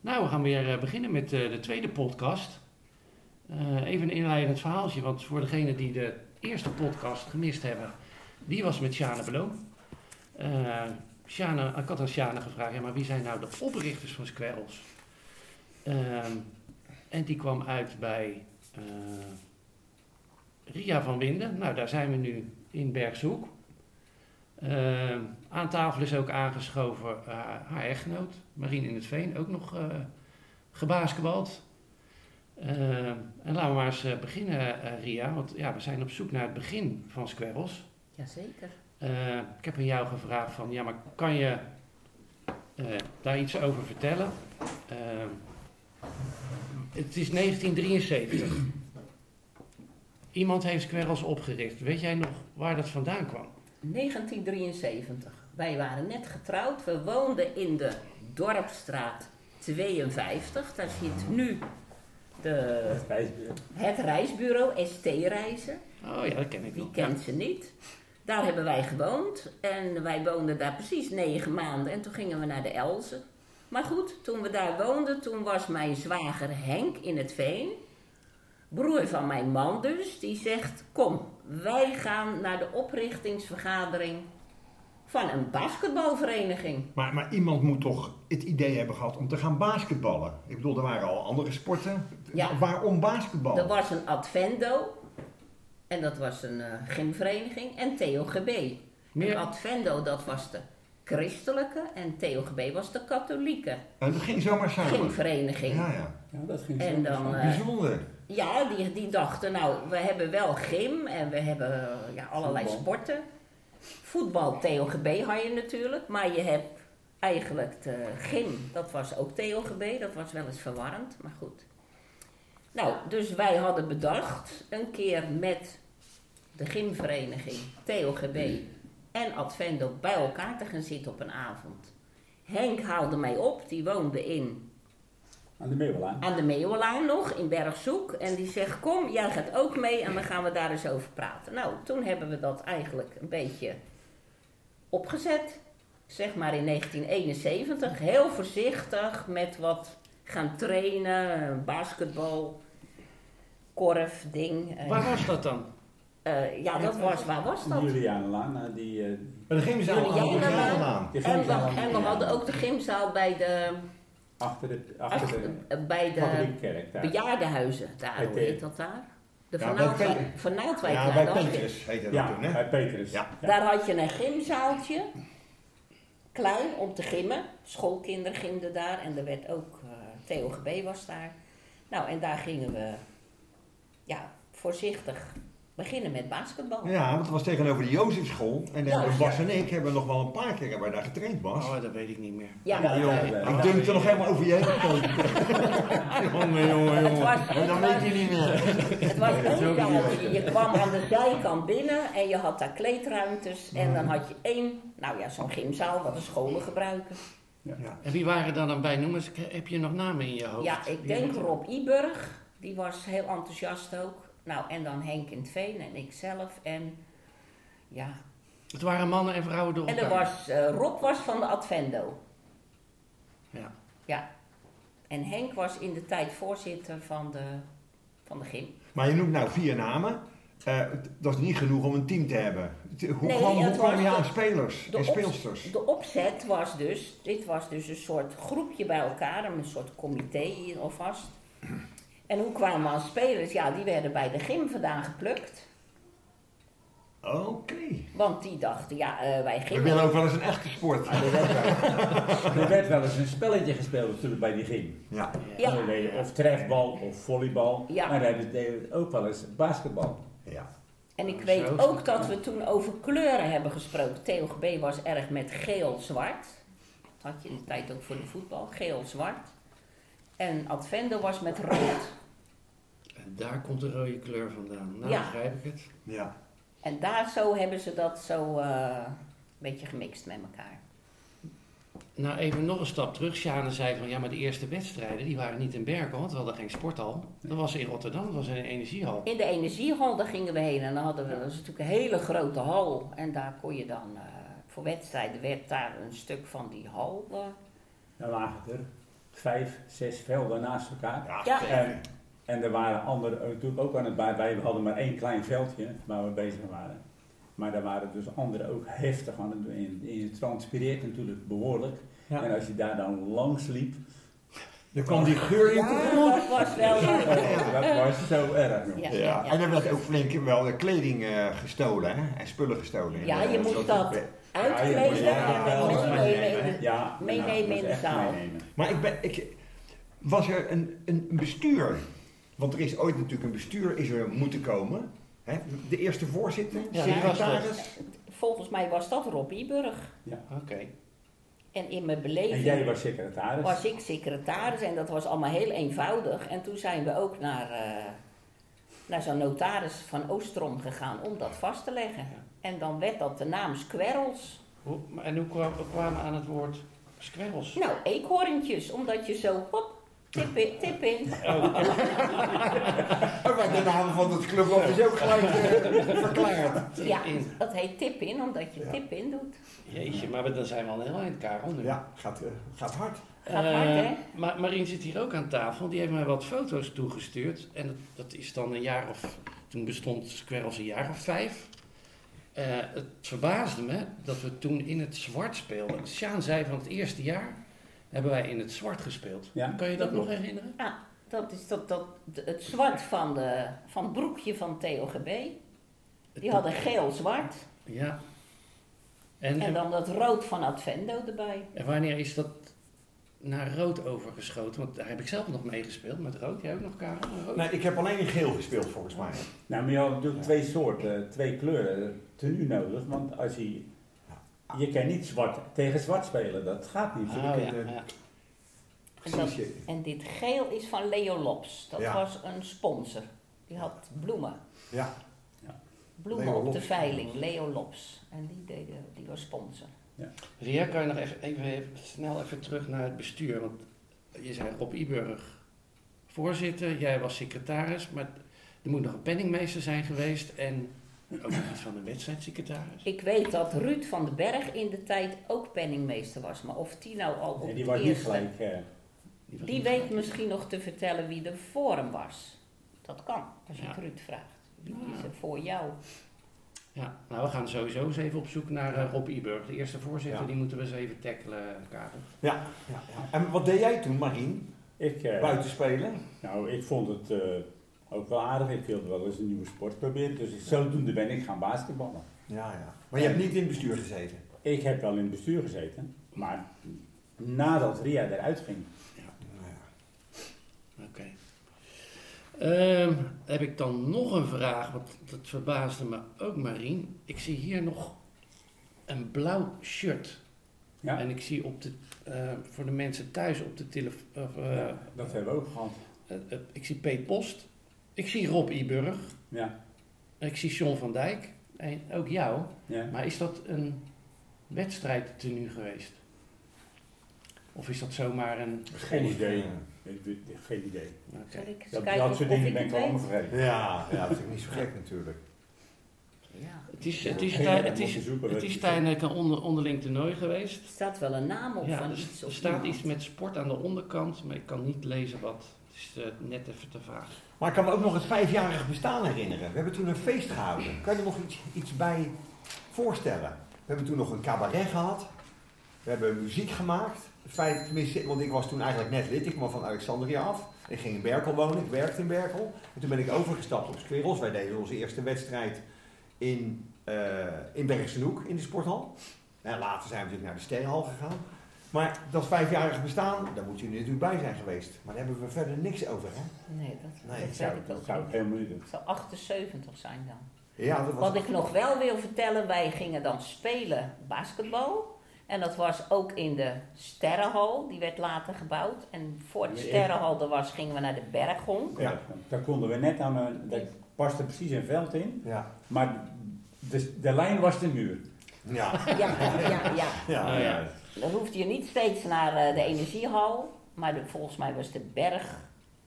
Nou, we gaan weer eh, beginnen met eh, de tweede podcast. Eh, even een inleidend verhaaltje, want voor degenen die de eerste podcast gemist hebben, die was met Sjane Beloon. Eh, Sjane, ik had aan Sjane gevraagd, ja, maar wie zijn nou de oprichters van Squirrels? Ehm, en die kwam uit bij eh, Ria van Winden. Nou, daar zijn we nu in Bergshoek. Ehm, aan tafel is ook aangeschoven eh, haar echtgenoot, Marien in het Veen, ook nog eh gebasketbald. Ehm, en laten we maar eens eh, beginnen, eh, Ria, want ja, we zijn op zoek naar het begin van Squirrels. Jazeker. Eh, ik heb aan jou gevraagd van, ja, maar kan je eh, daar iets over vertellen? Eh, het is 1973. Iemand heeft Squirrels opgericht. Weet jij nog waar dat vandaan kwam? 1973. Wij waren net getrouwd. We woonden in de Dorpstraat 52. Daar zit nu de, het reisbureau ST Reizen. Oh ja, dat ken ik Wie nog. kent ze niet? Daar hebben wij gewoond. En wij woonden daar precies negen maanden. En toen gingen we naar de Elzen. Maar goed, toen we daar woonden, toen was mijn zwager Henk in het Veen. Broer van mijn man dus, die zegt, kom, wij gaan naar de oprichtingsvergadering van een basketbalvereniging. Maar, maar iemand moet toch het idee hebben gehad om te gaan basketballen. Ik bedoel, er waren al andere sporten. Ja. Waarom basketbal? Er was een Advendo. En dat was een eh, gymvereniging. En TOGB. Meer- Een Advendo, dat was de christelijke. En TOGB was de katholieke En dat ging zomaar samen. gymvereniging. Oh. Ja, ja. Ja, dat ging En zo. dan, eh, Bijzonder. ja, die, die dachten, nou, we hebben wel gym en we hebben eh, ja, allerlei Voetbal. sporten. Voetbal, TOGB had je natuurlijk, maar je hebt eigenlijk de gym, dat was ook TOGB, dat was wel eens verwarrend, maar goed. Nou, dus wij hadden bedacht een keer met de gymvereniging, TOGB en Advendo bij elkaar te gaan zitten op een avond. Henk haalde mij op, die woonde in Aan de meeuwlaan. aan de Meeuwelaan nog in Bergzoek. En die zegt: Kom, jij gaat ook mee en dan gaan we daar eens over praten. Nou, toen hebben we dat eigenlijk een beetje opgezet. Zeg maar in 1971. Heel voorzichtig met wat gaan trainen, basketbal, korf, ding. eh. Waar was dat dan? Eh, ja, dat was, waar was dat? Julianenlaan. eh, die, eh, Maar dan gingen ze Jullie allemaal jij allemaal dan? aan. die En we, gymzaal. en we hadden ook de gymzaal bij de, Achter de, achter achter, de eh, bij de katholieke kerk daar. bejaardenhuizen. Daar, hoe Bij de- heet dat daar? De Ja, Van bij Naaldwijk- Pe- Van Naaldwijk. Ja, daar, bij dat was- Petrus heette dat Ja, toen, hè? bij Petrus. Ja. Daar had je een gymzaaltje. Klein, om te gimmen. Schoolkinderen gimden daar. En er werd ook... eh TOGB was daar. Nou, en daar gingen we... Ja, voorzichtig beginnen met basketbal. Ja, want dat was tegenover de Jozefschool. En Ja. dan Bas en ik hebben nog wel een paar keer waar daar getraind was. Oh, dat weet ik niet meer. Ja, Ja, joh. eh, Ik denk er nog helemaal over je heen. jongen, jongen, Het was, jongen. En dan weet je niet meer. het was dat is één ook niet ruimte. Je kwam aan de zijkant binnen en je had daar kleedruimtes. En dan had je één, nou ja, zo'n gymzaal wat de scholen gebruiken. En wie waren daar dan bij? Noem eens, heb je nog namen in je Oh, hoofd? Ja, ik Wie denk was- Rob Iburg, die was heel enthousiast ook. Nou, en dan Henk in het Veen en ikzelf. En, ja. Het waren mannen en vrouwen door en er elkaar. was, eh, Rob was van de Advendo. Ja. Ja. En Henk was in de tijd voorzitter van de, van de gym. Maar je noemt nou vier namen. Eh, dat is niet genoeg om een team te hebben. Hoe Nee, kwam, hoe het kwam was je de- aan spelers en op- speelsters? de opzet was dus, dit was dus een soort groepje bij elkaar, een soort comité hier alvast. En hoe kwamen we aan spelers? Ja, die werden bij de gym vandaan geplukt. Oké. Want die dachten, ja, eh, wij We gingen willen ook wel eens een echte sport. Er werd, wel- er werd wel eens een spelletje gespeeld natuurlijk bij die gym. Ja. Ja. En dan deed je Of trefbal of volleybal. Ja. Maar daar deden we ook wel eens basketbal. ja. En ik Zo weet is ook het, dat ja. we toen over kleuren hebben gesproken. TOGB was erg met geel-zwart. Dat had je in de tijd ook voor de voetbal, geel-zwart. En Advendo was met rood. En daar komt de rode kleur vandaan. Nou, Ja. begrijp ik het. ja. En daar zo hebben ze dat zo eh, een beetje gemixt met elkaar. Nou, even nog een stap terug. Sjane zei van, ja, maar de eerste wedstrijden, die waren niet in Berkel, want we hadden geen sporthal. Dat was in Rotterdam, dat was in een energiehal. In de energiehal, daar gingen we heen. En dan hadden we, dat is natuurlijk een hele grote hal. En daar kon je dan, eh, voor wedstrijden werd daar een stuk van die hal eh, Dan lagen er vijf, zes velden naast elkaar. Ja. En, en er waren anderen natuurlijk ook aan het baat. Wij hadden maar één klein veldje waar we bezig waren. Maar daar waren dus anderen ook heftig aan het doen. En Je transpireert natuurlijk behoorlijk. Ja. En als je daar dan langs liep, Dan kwam die geur in. Ja, dat was wel. oh, dat was zo erg. joh. Ja, Ja. ja, ja. en er werd ook flink wel eh, kleding eh, gestolen hè? en spullen gestolen. eh, Ja, je moet dat Uitgelezen, uitgelezen ja, en ja, mensen ja, meenemen. Ja, Meenemen ja, dat was in de echt zaal. meenemen. Maar ik ben, ik, was er een, een een bestuur? Want er is ooit natuurlijk een bestuur is er moeten komen. Hè? De eerste voorzitter, Ja, die was secretaris. Volgens mij was dat Rob Iburg. Oké. En in mijn En jij beleving was secretaris. was ik secretaris en dat was allemaal heel eenvoudig. En toen zijn we ook naar, eh, naar zo'n notaris van Oostrom gegaan om dat vast te leggen. En dan werd dat de naam Squirrels. Hoe- maar- En hoe kwa- kwamen aan het woord squirrels? Nou, eekhoorntjes, omdat je zo hop, tip in, tip in. Oh, maar de naam van het clubblad is ook gelijk eh, verklaard. Ja, In. dat heet tip in, omdat je tip in doet. Jeetje, maar we- dan zijn we al een heel eind, Karel. Nu. Ja, gaat, eh, gaat hard. Gaat hard, hè? Maar Eh, Marien zit hier ook aan tafel. Die heeft mij wat foto's toegestuurd. En dat, dat is dan een jaar of... Toen bestond Squirrels een jaar of vijf. Eh, het verbaasde me dat we toen in het zwart speelden. Sjaan zei van het eerste jaar hebben wij in het zwart gespeeld. Ja, kan je dat, dat nog klopt. herinneren? Dat is dat, dat, het zwart van, de, van het broekje van TOGB. Die hadden geel-zwart. Ja. En, En en, dan dat rood van Advendo erbij. wanneer is dat naar rood overgeschoten? Want daar heb ik zelf nog mee gespeeld met rood. Jij ook nog, Karel? Rood? Nee, ik heb alleen in geel gespeeld volgens mij. Nou, maar je had natuurlijk twee soorten, twee kleuren tenue nodig. Want als je, je kan niet zwart tegen zwart spelen, dat gaat niet. Oh, ja, ja. En, dat- Precies. eh, en dit geel is van Leo Lops. Dat Ja. was een sponsor. Die had bloemen. Ja. Bloemen Leo op de Lops. veiling, Leo Lops. En die, deed, eh, die was sponsor. Ria, kan je nog even, even, even snel even terug naar het bestuur? Want je zei Rob Iburg voorzitter, jij was secretaris, maar er moet nog een penningmeester zijn geweest en ook nog iets van de wedstrijdsecretaris. Ik weet dat Ruud van den Berg in de tijd ook penningmeester was. Maar of die nou al op En die het was niet eerste- gelijk. eh, was Die niet weet gelijk. misschien nog te vertellen wie de voor hem was. Dat kan, als je Ja. het Ruud vraagt. Wie Ja. is er voor jou? Ja, nou we gaan sowieso eens even op zoek naar eh, Rob Iburg, de eerste voorzitter, Ja. die moeten we eens even tackelen, Karel. Ja, ja, ja. En wat deed jij toen, Marien? ik, eh, Buitenspelen? nou, ik vond het eh, ook wel aardig. Ik wilde wel eens een nieuwe sport proberen. Dus ik, zodoende ben ik gaan basketballen. Ja, ja. Maar je hebt niet in het bestuur gezeten? Ik heb wel in het bestuur gezeten, maar nadat Ria eruit ging. Oké. Ehm, heb ik dan nog een vraag, want dat verbaasde me ook, Marien. Ik zie hier nog een blauw shirt. Ja. En ik zie op de, eh, voor de mensen thuis op de telefoon. nou, dat hebben we ook gehad. eh, ik zie Peet Post. Ik zie Rob Iburg. Ja. Ik zie John van Dijk. En ook jou. Ja. Maar is dat een wedstrijd tenue geweest? Of is dat zomaar een. Geen idee. Ik, weet- geen idee. Oké. Zal ik eens Dat, Dus kijken dat of soort dingen ik ben het ik al allemaal weet? vergeten. Ja, ja, dat is ook niet zo gek natuurlijk. Ja. Het is, Ja, het is, geen tij- idee, het moet is, je zoeken het wat is je- tijdelijk een onder, onderling toernooi geweest. Er staat wel een naam op Ja, dus van er iets. of staat iemand. iets met sport aan de onderkant, maar ik kan niet lezen wat. Het is eh, net even te vaag. Maar ik kan me ook nog het vijfjarig bestaan herinneren. We hebben toen een feest gehouden. Kan je er nog iets, iets bij voorstellen? We hebben toen nog een cabaret gehad. We hebben muziek gemaakt. Het feit, tenminste, want ik was toen eigenlijk net lid. Ik kwam van Alexandria af. Ik ging in Berkel wonen. Ik werkte in Berkel. En toen ben ik overgestapt op Squirrels. Wij deden onze eerste wedstrijd in, eh in Bergsenoek in de sporthal. En later zijn we natuurlijk naar de Steenhal gegaan. Maar dat vijfjarig bestaan, daar moet je natuurlijk bij zijn geweest. Maar daar hebben we verder niks over, hè? Nee, dat, Nee, dat zou- weet ik Dat ook zou ik niet. helemaal niet doen. Het zal 78 zijn dan. Ja, dat was Wat ik nog wel wil vertellen, wij gingen dan spelen basketbal. En dat was ook in de Sterrenhal, die werd later gebouwd. En voor de Nee, ik- Sterrenhal er was, gingen we naar de Berghonk. Ja. Ja. Daar konden we net aan, eh, daar paste precies een veld in, Ja. maar de, de lijn was de muur. Ja. Ja, ja, ja. Ja, Oh, ja. ja. Dan hoefde je niet steeds naar eh, de energiehal, maar de- volgens mij was de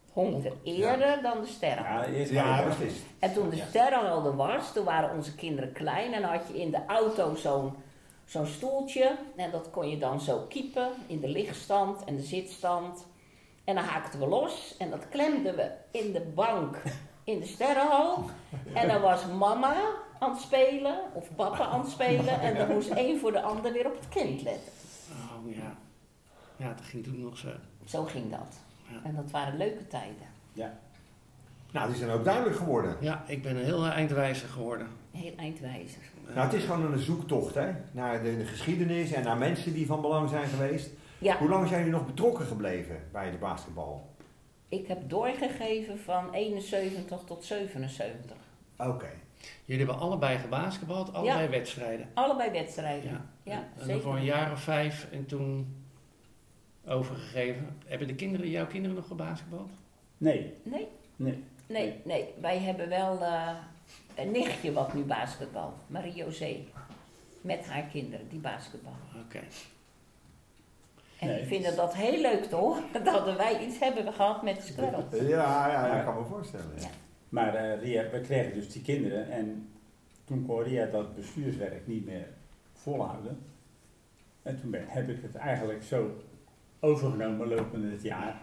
berghonk er eerder dan de sterren. Ja, eerst maar ja, de- beslist. En toen de sterrenhal er was, toen waren onze kinderen klein en had je in de auto zo'n zo'n stoeltje en dat kon je dan zo kiepen in de lichtstand en de zitstand. En dan haakten we los en dat klemden we in de bank in de sterrenhal. En dan was mama aan het spelen of papa aan het spelen. En dan moest één voor de ander weer op het kind letten. Oh ja. Ja, dat ging toen nog zo. Zo ging dat. Ja. En dat waren leuke tijden. Nou, het is dan ook duidelijk geworden. Ja, ik ben een heel eh, eindwijzer geworden. Heel eindwijzer. Nou, het is gewoon een zoektocht hè? naar de, de geschiedenis en naar mensen die van belang zijn geweest. Ja. Hoe lang zijn jullie nog betrokken gebleven bij de basketbal? Ik heb doorgegeven van 71 tot 77. Oké. Eh, Jullie hebben allebei gebasketbald, allebei wedstrijden. Allebei wedstrijden. Ja. Ja, en dan zeker. voor een jaar of vijf en toen overgegeven. Hebben de kinderen, jouw kinderen nog gebasketbald? Nee, Nee, nee. nee, nee. Wij hebben wel eh, een nichtje wat nu basketbal. Marie-José. Met haar kinderen, die basketbal. Oké. En Nee. die vinden dat heel leuk te horen dat wij iets hebben gehad met squirrel. Ja, ja, ja, ik kan me voorstellen. ja. Maar eh, Ria, we kregen dus die kinderen en toen kon Ria dat bestuurswerk niet meer volhouden. En toen ben, heb ik het eigenlijk zo overgenomen lopende het jaar.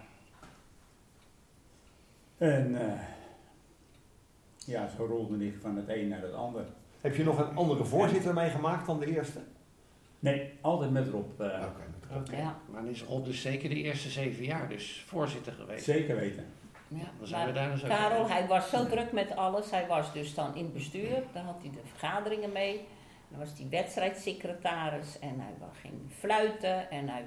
En eh, ja, zo rolde ik van het een naar het ander. Heb je nog een andere voorzitter meegemaakt dan de eerste? Nee, altijd met Rob. eh, Oké. Oké. Ja. Maar dan is Rob dus zeker de eerste zeven jaar dus voorzitter geweest. Zeker weten. Ja, Dan zijn we maar daar dus ook Karel, bij. hij was zo druk met alles. Hij was dus dan in het bestuur. Daar had hij de vergaderingen mee. Dan was hij wedstrijdsecretaris en hij wa- ging fluiten. En hij,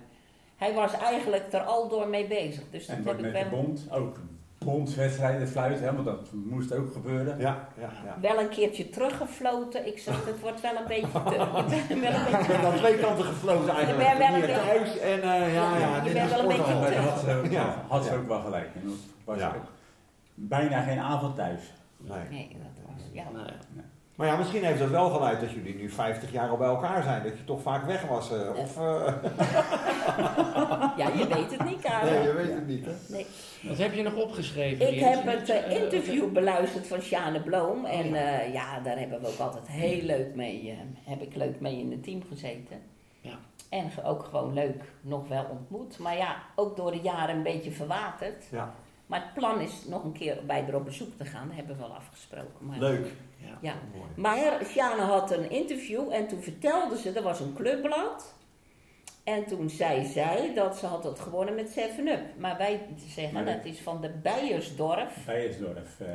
hij was eigenlijk er al door mee bezig. Dus dat En wat heb met ik de wel, bond, ook bondswedstrijden fluiten, hè, want dat moest ook gebeuren. Ja, ja, ja. wel een keertje teruggefloten. Ik zeg, het wordt wel een beetje te... Je bent wel een Ik ben beetje... aan twee kanten gefloten eigenlijk. Je bent wel een Hier beetje- thuis en eh, ja, ja, Je dit bent is wel een sporthal. beetje Maar daar had ze ook, Oh. Ja. had ze Ja. ook wel gelijk. En dat was Ja. ook bijna geen avond thuis. Nee. Nee, dat was... Ja. Nou ja. Maar ja, misschien heeft dat wel geleid dat jullie nu 50 jaar al bij elkaar zijn. Dat je toch vaak weg was. eh, of, eh, ja, je weet het niet, Karel. nee, je weet het niet. Hè? Nee. Wat heb je nog opgeschreven? Ik Jens? heb het eh, Eh, interview beluisterd van Sjane Bloom. En Ja. eh, ja, daar hebben we ook altijd heel leuk mee, eh, heb ik leuk mee in het team gezeten. Ja. En ge- ook gewoon leuk nog wel ontmoet. Maar ja, ook door de jaren een beetje verwaterd. Ja. Maar het plan is nog een keer bij haar op bezoek te gaan. Dat hebben we al afgesproken. Maar, Leuk. Ja. Ja. Mooi. Maar Sjane had een interview en toen vertelde ze, er was een clubblad. En toen zei zij dat ze had dat gewonnen met 7-Up. Maar wij zeggen Maar dat- dat is van de Bijersdorf Bijersdorf, eh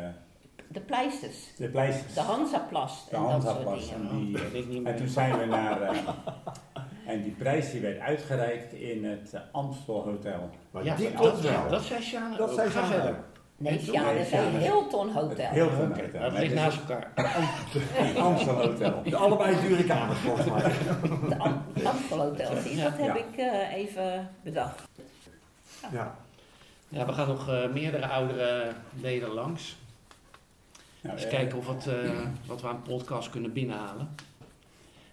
de pleisters, de pleisters, de Hansaplast de en dat soort handhappas. dingen. En, die- weet ik niet meer. en toen zijn we naar... eh, en die prijs die werd uitgereikt in het eh, Amstel Hotel. Maar Ja, die dat, klopt wel. dat zei Sjane Dat eh, ook. zei Ga Sjane verder. ook. Nee, toen- ja, dat is een Nee, Hilton Het Hotel. heel veel Oké, hotel. dat Nee, ligt dus naast elkaar. het Amstel Hotel. De allebei dure kamers volgens mij. Het Am- Amstel Hotel, zie je, dat Ja. heb ik eh, even bedacht. Ja. Ja, we gaan nog eh, meerdere oudere leden langs. Nou, Eens eh, kijken of het, eh, wat we aan podcast kunnen binnenhalen.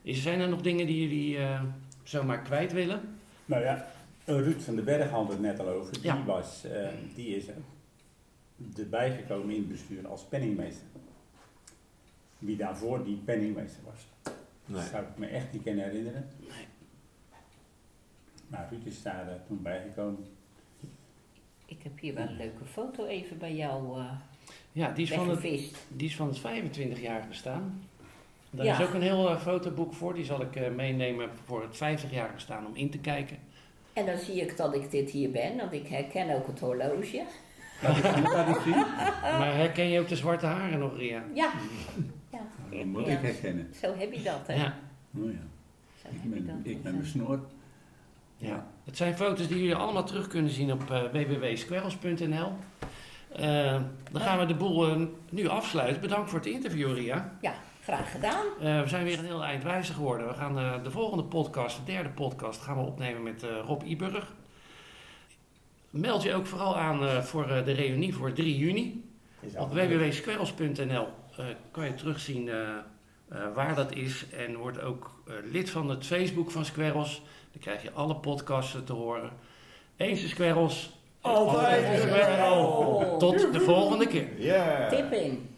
Is, zijn er nog dingen die jullie eh, zomaar kwijt willen? Nou ja, Ruud van den Berg had het net al over. Die, Ja. was, eh, die is eh, erbij gekomen in het bestuur als penningmeester. Wie daarvoor die penningmeester was. Nee. Dat zou ik me echt niet kunnen herinneren. Nee. Maar Ruud is daar eh, toen bijgekomen. Ik heb hier wel een leuke foto even bij jou eh Ja, die is, van het, weggevist. die is van het 25-jarig bestaan. Daar Ja. is ook een heel eh, fotoboek voor. Die zal ik eh, meenemen voor het 50-jarig bestaan om in te kijken. En dan zie ik dat ik dit hier ben, want ik herken ook het horloge. Laat ik zien. Eh. Maar herken je ook de zwarte haren nog, Ria? Ja, Dat moet ik herkennen. zo heb je dat, hè? Ja. Oh ja, Zo ik heb je dat. ben, ik ben een snoer. ja. Het zijn foto's die jullie allemaal terug kunnen zien op eh www.squarrels.nl. Eh, dan gaan we de boel eh, nu afsluiten. Bedankt voor het interview, Ria. Ja, graag gedaan. Eh, we zijn weer een heel eind wijzer geworden. We gaan eh, de volgende podcast, de derde podcast, gaan we opnemen met eh, Rob Iburg. Meld je ook vooral aan eh, voor eh, de reunie voor 3 juni. Is Op altijd- www.squarrels.nl eh, kan je terugzien eh, eh, waar dat is. En word ook eh, lid van het Facebook van Squarrels. Dan krijg je alle podcasten te horen. Eens de Squarrels. Altijd een Squirrel. Oh, Tot de volgende keer. Yeah. tip in.